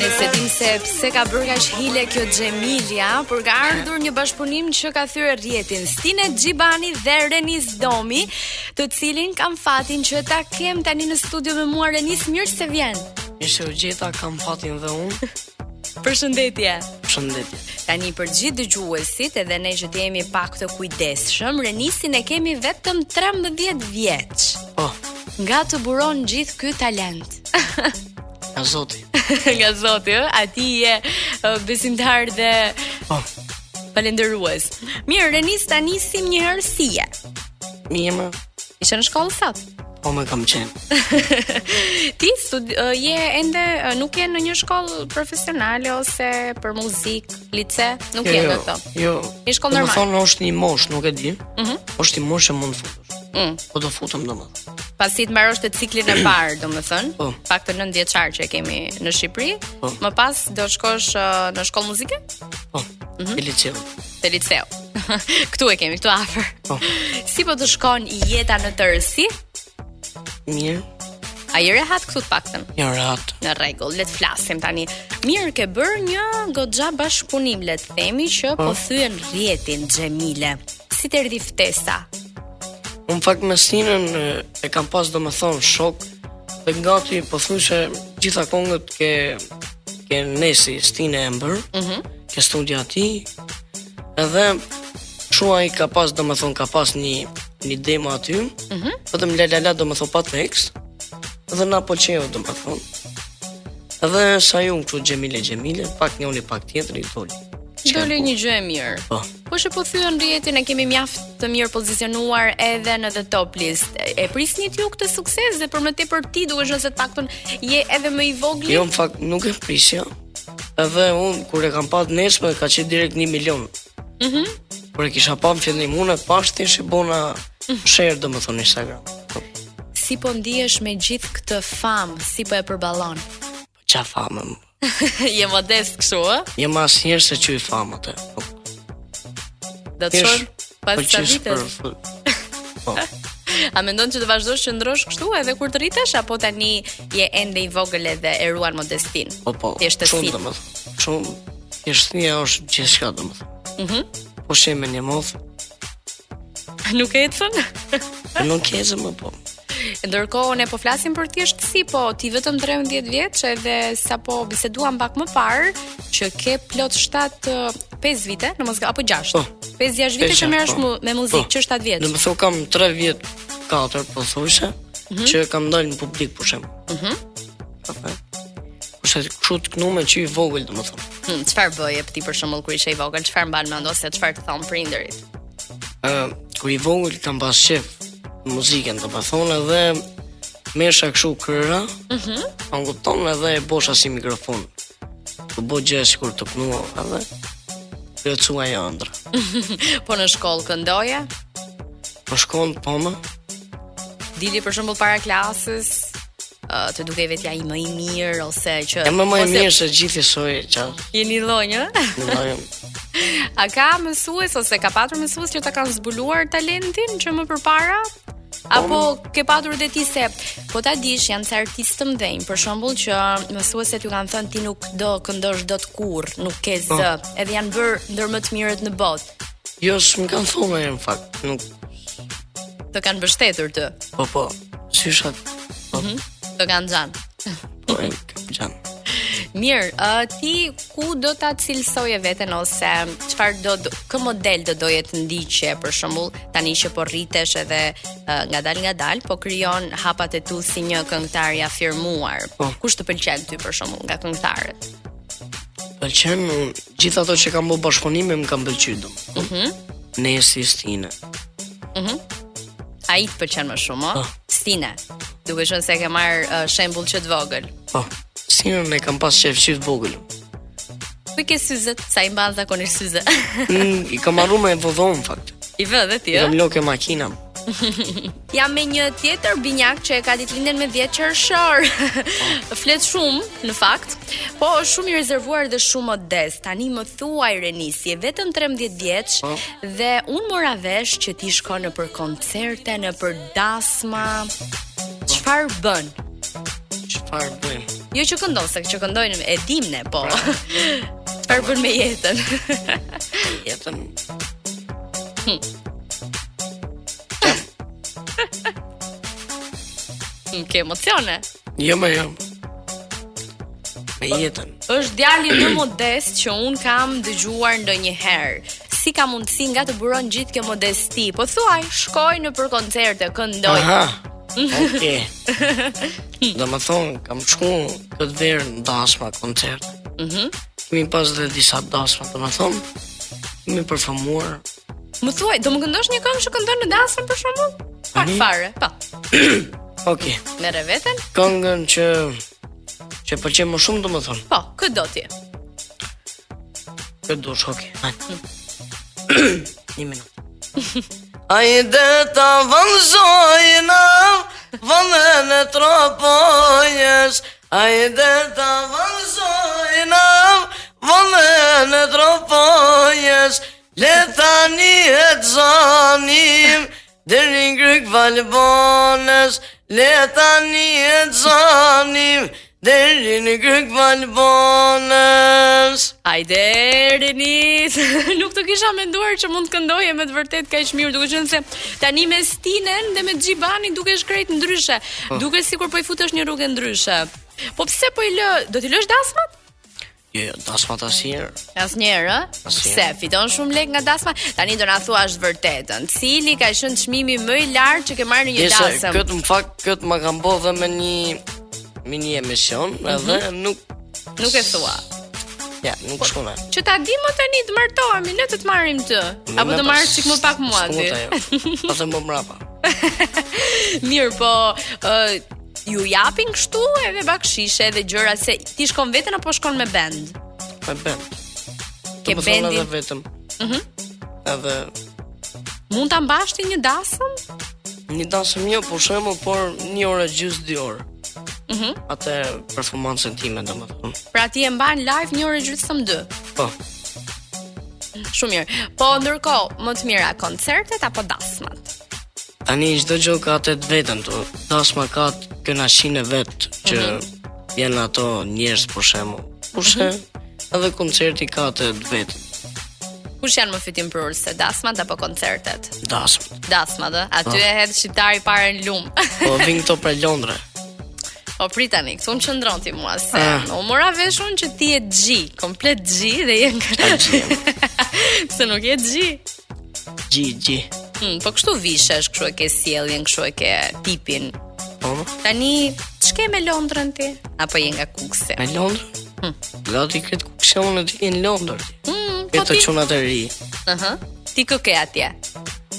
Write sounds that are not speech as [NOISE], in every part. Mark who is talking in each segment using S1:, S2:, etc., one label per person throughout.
S1: Se dim se pse ka bërë kaq hile kjo Xhemilia, por ka ardhur një bashkëpunim që ka thyer rrjetin. Stine Xhibani dhe Renis Domi, të cilin kam fatin që ta kem tani në studio me mua Renis, mirë se vjen.
S2: Ishe u gjeta, kam fatin dhe unë.
S1: Përshëndetje.
S2: Përshëndetje.
S1: Tani për gjithë dëgjuesit edhe ne që jemi pak të kujdesshëm, Renisin e kemi vetëm 13 vjeç.
S2: Po,
S1: Nga të buron gjithë ky talent.
S2: a zoti.
S1: [LAUGHS] Nga Zoti, ë? A ti je ë, besimtar dhe
S2: Po,
S1: falenderues. Mirë, Renis tani sim një herë si je?
S2: mirë më,
S1: Ishe në shkollë
S2: [LAUGHS]
S1: sot.
S2: po më kam qenë.
S1: ti studi ë, je ende ë, nuk je në një shkollë profesionale ose për muzikë, lice, nuk je në ato.
S2: Jo,
S1: Një shkollë
S2: do më
S1: normale.
S2: thonë është një mosh, nuk e di.
S1: Mhm.
S2: është një mosh që mund të futesh.
S1: Mm.
S2: Po do futem domethënë.
S1: Pasi të mbarosh të ciklin e parë, domethënë,
S2: Po.
S1: pak të 9 vjeçar që e kemi në Shqipëri,
S2: Po.
S1: më pas do shkosh ë, në shkollë muzike
S2: Po, e liceu.
S1: te liceu. [LAUGHS] këtu e kemi, këtu afër.
S2: Po.
S1: Si po të shkon jeta në tërësi?
S2: Mirë,
S1: A i rehat këtu të paktën?
S2: një rahat.
S1: Në rregull, le të flasim tani. Mirë ke bër një goxha bashkëpunim, le të themi që po thyen rrjetin Xhemile. Si të erdhi ftesa?
S2: Unë fakt me sinën e, e kam pas do më thonë shok Dhe gati po thuj se gjitha kongët ke, ke nesi stine e mbër Ke studia ti Edhe shua i ka pas do më thonë ka pas një, një demo aty Vetëm la la la do më thonë pa tekst Dhe na po qeo do më thonë Edhe sa ju këtu gjemile gjemile Pak një unë pak tjetëri i toli
S1: Doli një gjë e mirë.
S2: Po
S1: Po që po thyen rrjetin e kemi mjaft të mirë pozicionuar edhe në the top list. E- E prisnit ju këtë sukses dhe për më tepër ti duke qenë se të paktën je edhe më i vogël.
S2: Jo, në fakt nuk e prisja. Edhe unë kur e kam pat nesër ka qenë direkt 1 milion. Mhm. kur e kisha pa në fillim unë e pashti që bona
S1: Mhm.
S2: share domethënë në Instagram. Po
S1: Si po ndihesh me gjithë këtë famë, si po e përballon? [LAUGHS]
S2: po qa famë. më.
S1: je modest kështu, ë?
S2: Jam asnjëherë se qyj famë atë. Po
S1: Do të
S2: thjesht
S1: shon pas sa
S2: pëlqesh
S1: viteve.
S2: për- Po.
S1: A mendon që të vazhdosh që ndrosh kështu edhe kur të rritesh apo tani je ende i vogël edhe e ruan modestin?
S2: Po po.
S1: [LAUGHS] Thjesht të
S2: Shumë
S1: fit.
S2: domethënë. Shumë thjeshtësia është gjithçka domethënë.
S1: Mhm. [LAUGHS]
S2: Po shemë një moth,
S1: Nuk e ecën?
S2: po nuk keze më po.
S1: [LAUGHS] Ndërkohë ne po flasim për thjeshtësi, po ti vetëm 13 vjeç edhe sapo biseduam pak më parë që ke plot 7 eh, 5 vite, në mos apo 6.
S2: Po.
S1: 5-6 vite
S2: Pesha,
S1: që merresh
S2: po.
S1: mu- me muzikë,
S2: Po.
S1: që 7 vjeç.
S2: Do të thonë kam 3 vjet, 4 po thosha,
S1: Mhm.
S2: që kam dalë në publik për shemb. Mhm. Mm Kurse kështu të knume që i vogël domethënë.
S1: Hm, Çfarë bëje ti për shembull kur ishe i vogël, çfarë mban mend ose çfarë të thon prindërit?
S2: Ë, kur i vogël kam pas shef muzikën domethënë edhe mesha kështu këra. Mhm. Mm kupton edhe e bosha si mikrofon. Të bo gjë sikur të knua edhe plotësua e ëndra.
S1: Po në shkollë këndoje?
S2: Po shkon po më,
S1: Dili për shembull para klasës, ë, të duke vetja i më i mirë ose që
S2: e më më e
S1: ose
S2: mirë se gjithë i soje çfarë.
S1: jeni lloj, ë?
S2: Në lajm.
S1: A ka mësues ose ka patur mësues që ta kanë zbuluar talentin që më përpara? Apo ke patur edhe ti se po ta dish janë ca artistë të mëdhenj, për shembull që mësueset ju kanë thënë ti nuk do këndosh dot kurr, nuk ke
S2: Po.
S1: zë, edhe janë bërë ndër më të mirët në botë.
S2: Jo, s'm kanë thonë e në fakt, nuk
S1: Të kanë mbështetur ty,
S2: Po po, syshat. Po,
S1: të kanë xhan.
S2: po e kam gjan.
S1: Mirë, uh, ti ku do ta cilësoje veten ose çfarë do, do kë model do doje të ndiqje për shembull tani që po rritesh edhe uh, ngadal ngadal po krijon hapat e tu si një këngëtar i afirmuar.
S2: Po.
S1: Kush të pëlqen ty për shembull nga këngëtarët?
S2: Pëlqen unë, gjithë ato që kam bërë bashkëpunime më kanë pëlqyer dom. Mhm. Nesi Stine.
S1: Ai të pëlqen më shumë,
S2: Po.
S1: oh. Stine. Duke qenë se ke marr uh, shembull që të vogël.
S2: Po, Stinën e kam pas qef qyt vogël.
S1: Ku i ke syzet? Sa i mban zakonisht syze. [LAUGHS]
S2: Mm, I kam marrë me vodhon në fakt.
S1: I vë dhe ti,
S2: I
S1: ë?
S2: kam lokë makina.
S1: Jam me një tjetër binjak që e ka ditëlindjen me 10 qershor. Flet shumë, në fakt, po është shumë i rezervuar dhe shumë modest. Tani më thuaj Renis, je vetëm 13 vjeç
S2: Po.
S1: dhe un mora vesh që ti shkon në për koncerte, në për dasma. Çfarë bën?
S2: Çfarë bëjmë?
S1: Jo që këndon, se që këndojnë e dim ne, po. [LAUGHS] Çfarë bën me jetën? [LAUGHS]
S2: jetën.
S1: Ke emocione.
S2: Jo më jo. Me jetën.
S1: Është djali më modest që un kam dëgjuar ndonjëherë. Si ka mundësi nga të buron gjithë kjo modesti? Po thuaj, shkoj në për koncerte, këndoj.
S2: Aha. Okej. Do më thonë, kam shku këtë verë në dasma koncert. Mhm. Kemi pas dhe disa dasma, do më thonë. Kemi performuar.
S1: Më thuaj, do më këndosh një këngë që këndon në dasëm për shembull? Pak
S2: Mhm.
S1: fare. Po,
S2: Okej.
S1: merre veten?
S2: Këngën që që pëlqen më shumë, do më thonë.
S1: Po, kë do ti?
S2: Këtë dush, okej. Okay. [CLEARS THROAT] Një minutë. Ajde të vënzojnë, vëndën e tropojës, Ajde të vënzojnë, vëndën e tropojës, Letani e të zonim, dërin kryk valbonës, Letani e të zonim, dërin kryk valbonës.
S1: Hajde, Renis. [LAUGHS] Nuk të kisha menduar që mund të këndoje me të vërtet kaq mirë, duke qenë se tani me Stinen dhe me Xhibanin dukesh krejt ndryshe. Dukesh sikur po i futesh një rrugë ndryshe. Po pse po i lë? Do t'i lësh dasmat?
S2: Jo, jo, dasma të asirë.
S1: Asnjëherë, ë?
S2: Asnjëherë.
S1: Pse fiton shumë lek nga dasma? Tani do na thuash vërtetën. Cili ka qenë çmimi më i lartë që ke marrë në një
S2: Disa,
S1: dasëm?
S2: këtë në fakt, këtë më kam bo dhe me një, me një emision, edhe nuk,
S1: Mhm. Nuk e thua.
S2: ja, nuk shkune.
S1: Që ta di më tani të martohemi, ne të të marrim ty. Apo të marrësh çik më pak mua ti.
S2: jo. Pa të më mrapa.
S1: [LAUGHS] Mirë, po ë ju japin kështu edhe bakshishe edhe gjëra se ti shkon veten apo shkon me band?
S2: Me bend.
S1: Ke
S2: Pra, Të më Po, thonë
S1: bendin? Mhm.
S2: Edhe vetëm. Edhe
S1: Mund ta mbash ti një dasëm?
S2: një dansëm një, po shemë, por një orë gjysë dy orë.
S1: Mhm.
S2: Atë performancën time, do më thonë.
S1: Pra ti e mban live një orë gjysmë dy.
S2: Po,
S1: Shumë mirë. Po ndërkohë, më të mira koncertet apo dasmat?
S2: tani çdo gjë ka atë të vetën, të dasma ka atë kënaqësinë e vetë, që janë ato njerëz për shembull. Por shemë, edhe koncerti ka atë të vetën.
S1: Kush janë më fitim për se dasmat apo koncertet?
S2: Dasmë.
S1: Dasmat, ë? Aty e hedh shqiptari parë në lum.
S2: Ah. Po vin këto prej Londra.
S1: [LAUGHS] o prit tani, këtu më qëndron ti mua se.
S2: Ah.
S1: U mora vesh unë që ti je G, komplet G dhe je nga [LAUGHS] Se nuk je G.
S2: Gji, gji.
S1: Hmm, po kështu vishesh, kështu e ke sjelljen, kështu e ke tipin.
S2: Po,
S1: Tani ç'ke me Londrën ti? Apo je nga Kuksi?
S2: me Londra?
S1: Hmm.
S2: Gati këtë kukshionë të jenë Londër.
S1: Hmm, po
S2: Këtë
S1: ti.
S2: të qunat e ri.
S1: Aha. Ti kë ke atje?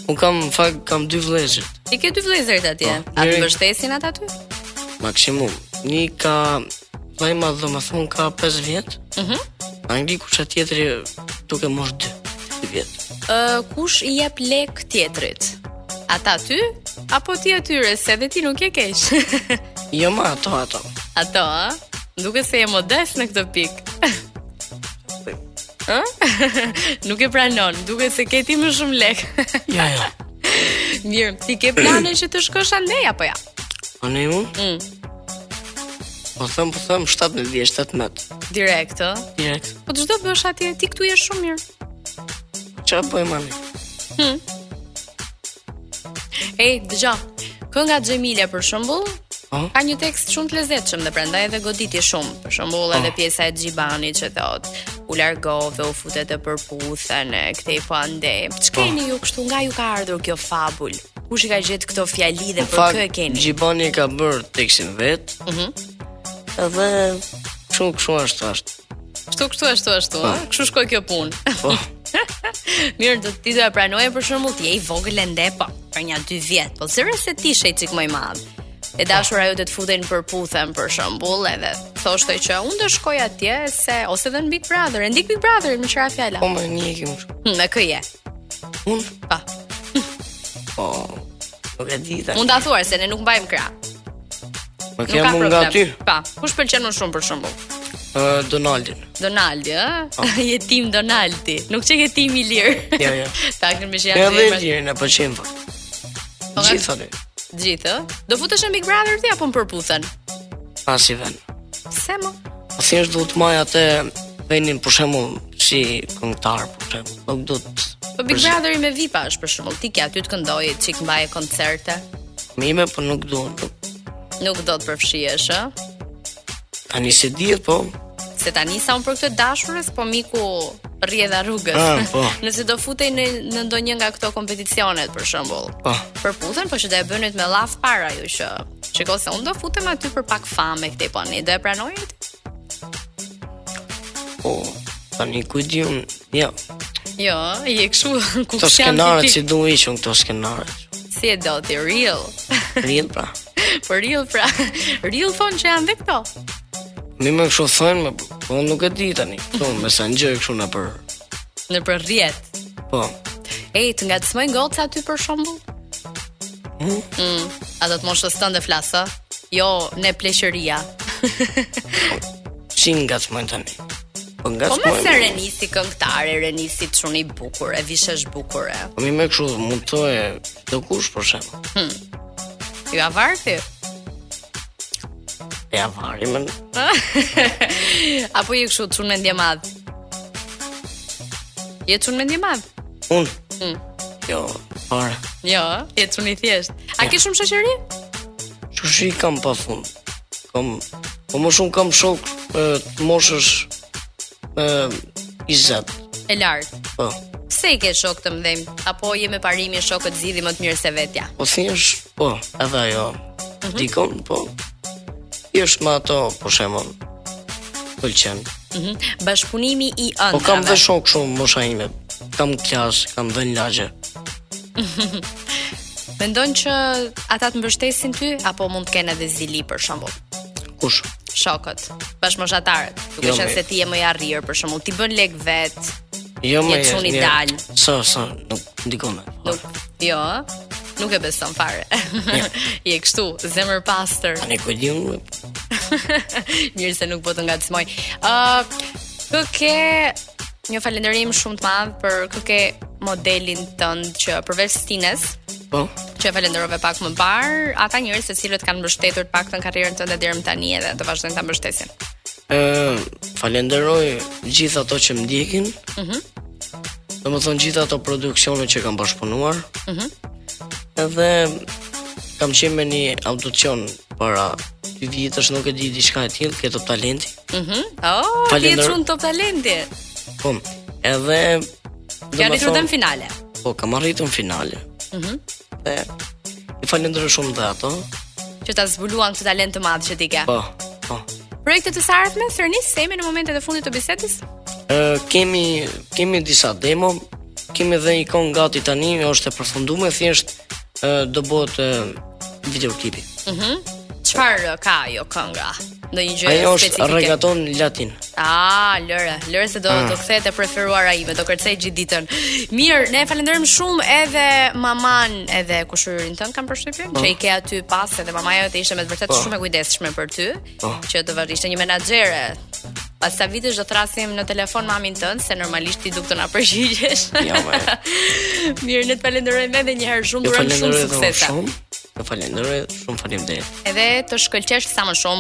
S2: Unë kam, në fakt, kam dy vlezër,
S1: Ti ke dy vëllezërit atje.
S2: Po,
S1: A të
S2: njëri-
S1: mbështesin ata aty?
S2: maksimum. Një ka, dhe ma dhe më thonë, ka 5 vjetë.
S1: Mhm.
S2: Angli kusha tjetëri duke mosh 2, 2 vjetë.
S1: Ë, kush i jep lek tjetrit? Ata ty apo ti atyre se edhe ti nuk je keq.
S2: Jo ma ato, ato.
S1: [LAUGHS] Ato, ë? Duke se je modest në këtë pikë. [LAUGHS] Ë? [LAUGHS] nuk e pranon, duke se ke ti më shumë lek. [LAUGHS]
S2: Ja, ja.
S1: Mirë, ti ke plane që të shkosh andej apo ja?
S2: A ne unë?
S1: Mm,
S2: Po thëmë, po thëmë, 17 vjetë, 17.
S1: direkt, ë?
S2: Direkt.
S1: Po çdo bësh atje, ti këtu je shumë mirë.
S2: Qa po e mani?
S1: Ej, dëgjoj. Kënga Xhemile për shembull,
S2: Po?
S1: Ka një tekst shumë të lezetshëm dhe prandaj edhe goditi shumë. Për shembull edhe pjesa e Xhibanit që thot u largove, u futet e përputhen, e kthej po andej. Ç'keni ju kështu nga ju ka ardhur kjo fabul? Kush i ka gjetë këto fjali dhe
S2: Në
S1: për kë e keni?
S2: Gjibani ka bërë tekstin vetë. Mhm. Edhe shumë kështu ashtu ashtu.
S1: Kështu kështu ashtu ashtu, ëh. Kështu shkoi kjo punë. [LAUGHS]
S2: Po,
S1: Mirë, do ti do e pranoje për shembull ti je i vogël ende po, për një 2 vjet, po zëre se ti ishe çik më i madh. E dashur ajo të të futen për puthen për shembull, edhe thoshte që unë do shkoj atje se ose edhe në Big Brother, e ndik Big Brother më çfarë fjala.
S2: po më një kemë kështu.
S1: Me kë je?
S2: Unë?
S1: Pa.
S2: Po, nuk e di tani.
S1: Mund ta thuar se ne nuk mbajmë krah.
S2: Më
S1: Nuk
S2: ke
S1: ka
S2: mund
S1: problem.
S2: nga ty,
S1: Pa. Kush pëlqen më shumë për shembull?
S2: uh, Donaldin.
S1: Donaldi, ë? [LAUGHS] je tim Donaldi. Nuk çe ke tim i lirë.
S2: Jo,
S1: [LAUGHS]
S2: jo.
S1: Taktën me që janë
S2: Edhe
S1: të
S2: e
S1: emrat.
S2: lirë në pëlqen fakt.
S1: Po, nga-
S2: Gjithë aty.
S1: Gjithë, ë? Do futesh në Big Brother ti apo më përputhen?
S2: Pas i ven.
S1: Pse më?
S2: Po thjesht duhet të maj atë venin për shembull si këngëtar për shembull. Nuk duhet
S1: Po Big Brotheri me VIP është për shembull, ti ke aty të këndoje, çik mbaje koncerte.
S2: mime, po nuk duhet. Nuk.
S1: Nuk do të përfshihesh, ë?
S2: Tani se dihet, po
S1: Se tani sa unë për këtë dashurës, po miku rrjedha rrugës.
S2: Ah, po.
S1: [LAUGHS] Nëse do futej në në ndonjë nga këto kompeticionet për shembull.
S2: Po.
S1: Përputhen, po që do e bënit me llaf para ju që. Shikoj se unë do futem aty për pak famë këtej po ne do e pranojit?
S2: po tani ku di unë, ja,
S1: Jo, je kështu [LAUGHS] ku
S2: këto
S1: jam
S2: skenarët
S1: ti-
S2: si duhet ishën këto skenarët.
S1: si e do ti real. [LAUGHS]
S2: Rrjedh pra.
S1: Për real pra. [LAUGHS] Real thonë që janë dhe këto.
S2: Mi më kështu thënë, më, po unë nuk e di tani. Këtu me sa ngjoj kështu na për.
S1: Në për rrjet.
S2: Po.
S1: Ej, të ngacmoj goca aty për shembull?
S2: Mu?
S1: Mm, a do të moshës tënde flasë? Jo, ne pleqëria. [LAUGHS]
S2: Si ngacmojnë tani? Po
S1: Po më
S2: ngacmojnë.
S1: se renisi këngëtare, renisi të shuni bukur, e vishesh bukur e.
S2: Po mi më kështu mund të thoje çdo kush për shemb.
S1: Ju avarti?
S2: E avari më.
S1: [LAUGHS] Apo je kështu të shunë mendje madh? Je të shunë mendje madh?
S2: Unë.
S1: Mm.
S2: Jo, fare.
S1: Jo, je të shunë i thjesht. A ke shumë shoqëri?
S2: Shushi kam pa fund. Kam po më shumë kam shok e, të moshës e, i zot.
S1: E lartë.
S2: Po.
S1: Pse i ke shok të mdhëmë? Apo je me parimin shokët zgjidhi më të mirë se vetja?
S2: Po thjesht, po, edhe ajo.
S1: Mhm.
S2: Dikon, po. Thjesht me ato, për shembull. Pëlqen.
S1: Mhm. Bashkëpunimi i
S2: Po
S1: ëndrave.
S2: kam dhe shok shumë mosha ime. Kam klasë, kam dhënë lagje.
S1: Mendon që ata të mbështesin ty apo mund të kenë edhe zili për shembull?
S2: Kush?
S1: Shokët, bashkëmoshatarët, duke
S2: Jo,
S1: qenë
S2: me-
S1: se ti je më i arrirë për shembull, ti bën lek vet,
S2: Jo më.
S1: Je çuni
S2: je-
S1: dal.
S2: Sa, sa, nuk ndikon. me.
S1: nuk jo, nuk e beson fare. [LAUGHS] je kështu, zemër pastër.
S2: Tani ku di unë?
S1: [LAUGHS] Mirë se nuk po të ngacmoj. Ë, kë ke një falënderim shumë të madh për kë ke modelin tënd që përveç Stines,
S2: Po.
S1: që e falenderove pak më parë, ata njerëz se cilët kanë mbështetur të paktën karrierën tënde deri më tani edhe do vazhdojnë ta mbështesin.
S2: Ë, falenderoj gjithë ato që më ndjekin. Mhm. Do të thonë gjithë ato produksione që kam bashkëpunuar. Mhm. Edhe kam qenë me një audicion para dy vitësh, nuk e di diçka e tillë, ke top talenti.
S1: Mhm. Oh, ti je
S2: Falender-
S1: çun top talenti.
S2: Po. Edhe
S1: Ke arritur
S2: domethënë-
S1: në finale.
S2: Po, kam arritur në finale.
S1: Mhm.
S2: Dhe i falenderoj shumë dhe ato.
S1: Që ta zbuluan këtë talent të madh që ti ke.
S2: Po, po.
S1: Projektet e sartme, sërnis semi në momentet e fundit të bisedës.
S2: Ë kemi kemi disa demo, kemi edhe një këngë gati tani, është e përfunduar thjesht ë do bëhet ë, videoklipi.
S1: Çfarë ë, ka ajo kënga? Ndonjë gjë
S2: Ajo është
S1: specifike.
S2: regaton latin.
S1: Ah, lëre, lëre se do
S2: Ah.
S1: do kthehet e preferuara ime, do kërcej gjithë ditën. Mirë, ne falenderojm shumë edhe maman edhe kushyrin tën kam përshtypjen
S2: Ah.
S1: që i ke aty pas edhe mamaja jote ishte me të vërtetë
S2: Po.
S1: shumë e kujdesshme për ty,
S2: Po.
S1: që do vazhdo ishte një menaxhere. Pas sa vitesh do thrasim në telefon mamin tënd se normalisht ti duk të na përgjigjesh.
S2: Ja, ma.
S1: [LAUGHS] Mirë, ne të falenderojmë edhe një herë shumë,
S2: Ju
S1: durojmë shumë
S2: falenderoj dhe unë
S1: suksese.
S2: shumë. Ju falenderoj, shumë faleminderit.
S1: Edhe të shkëlqesh sa më shumë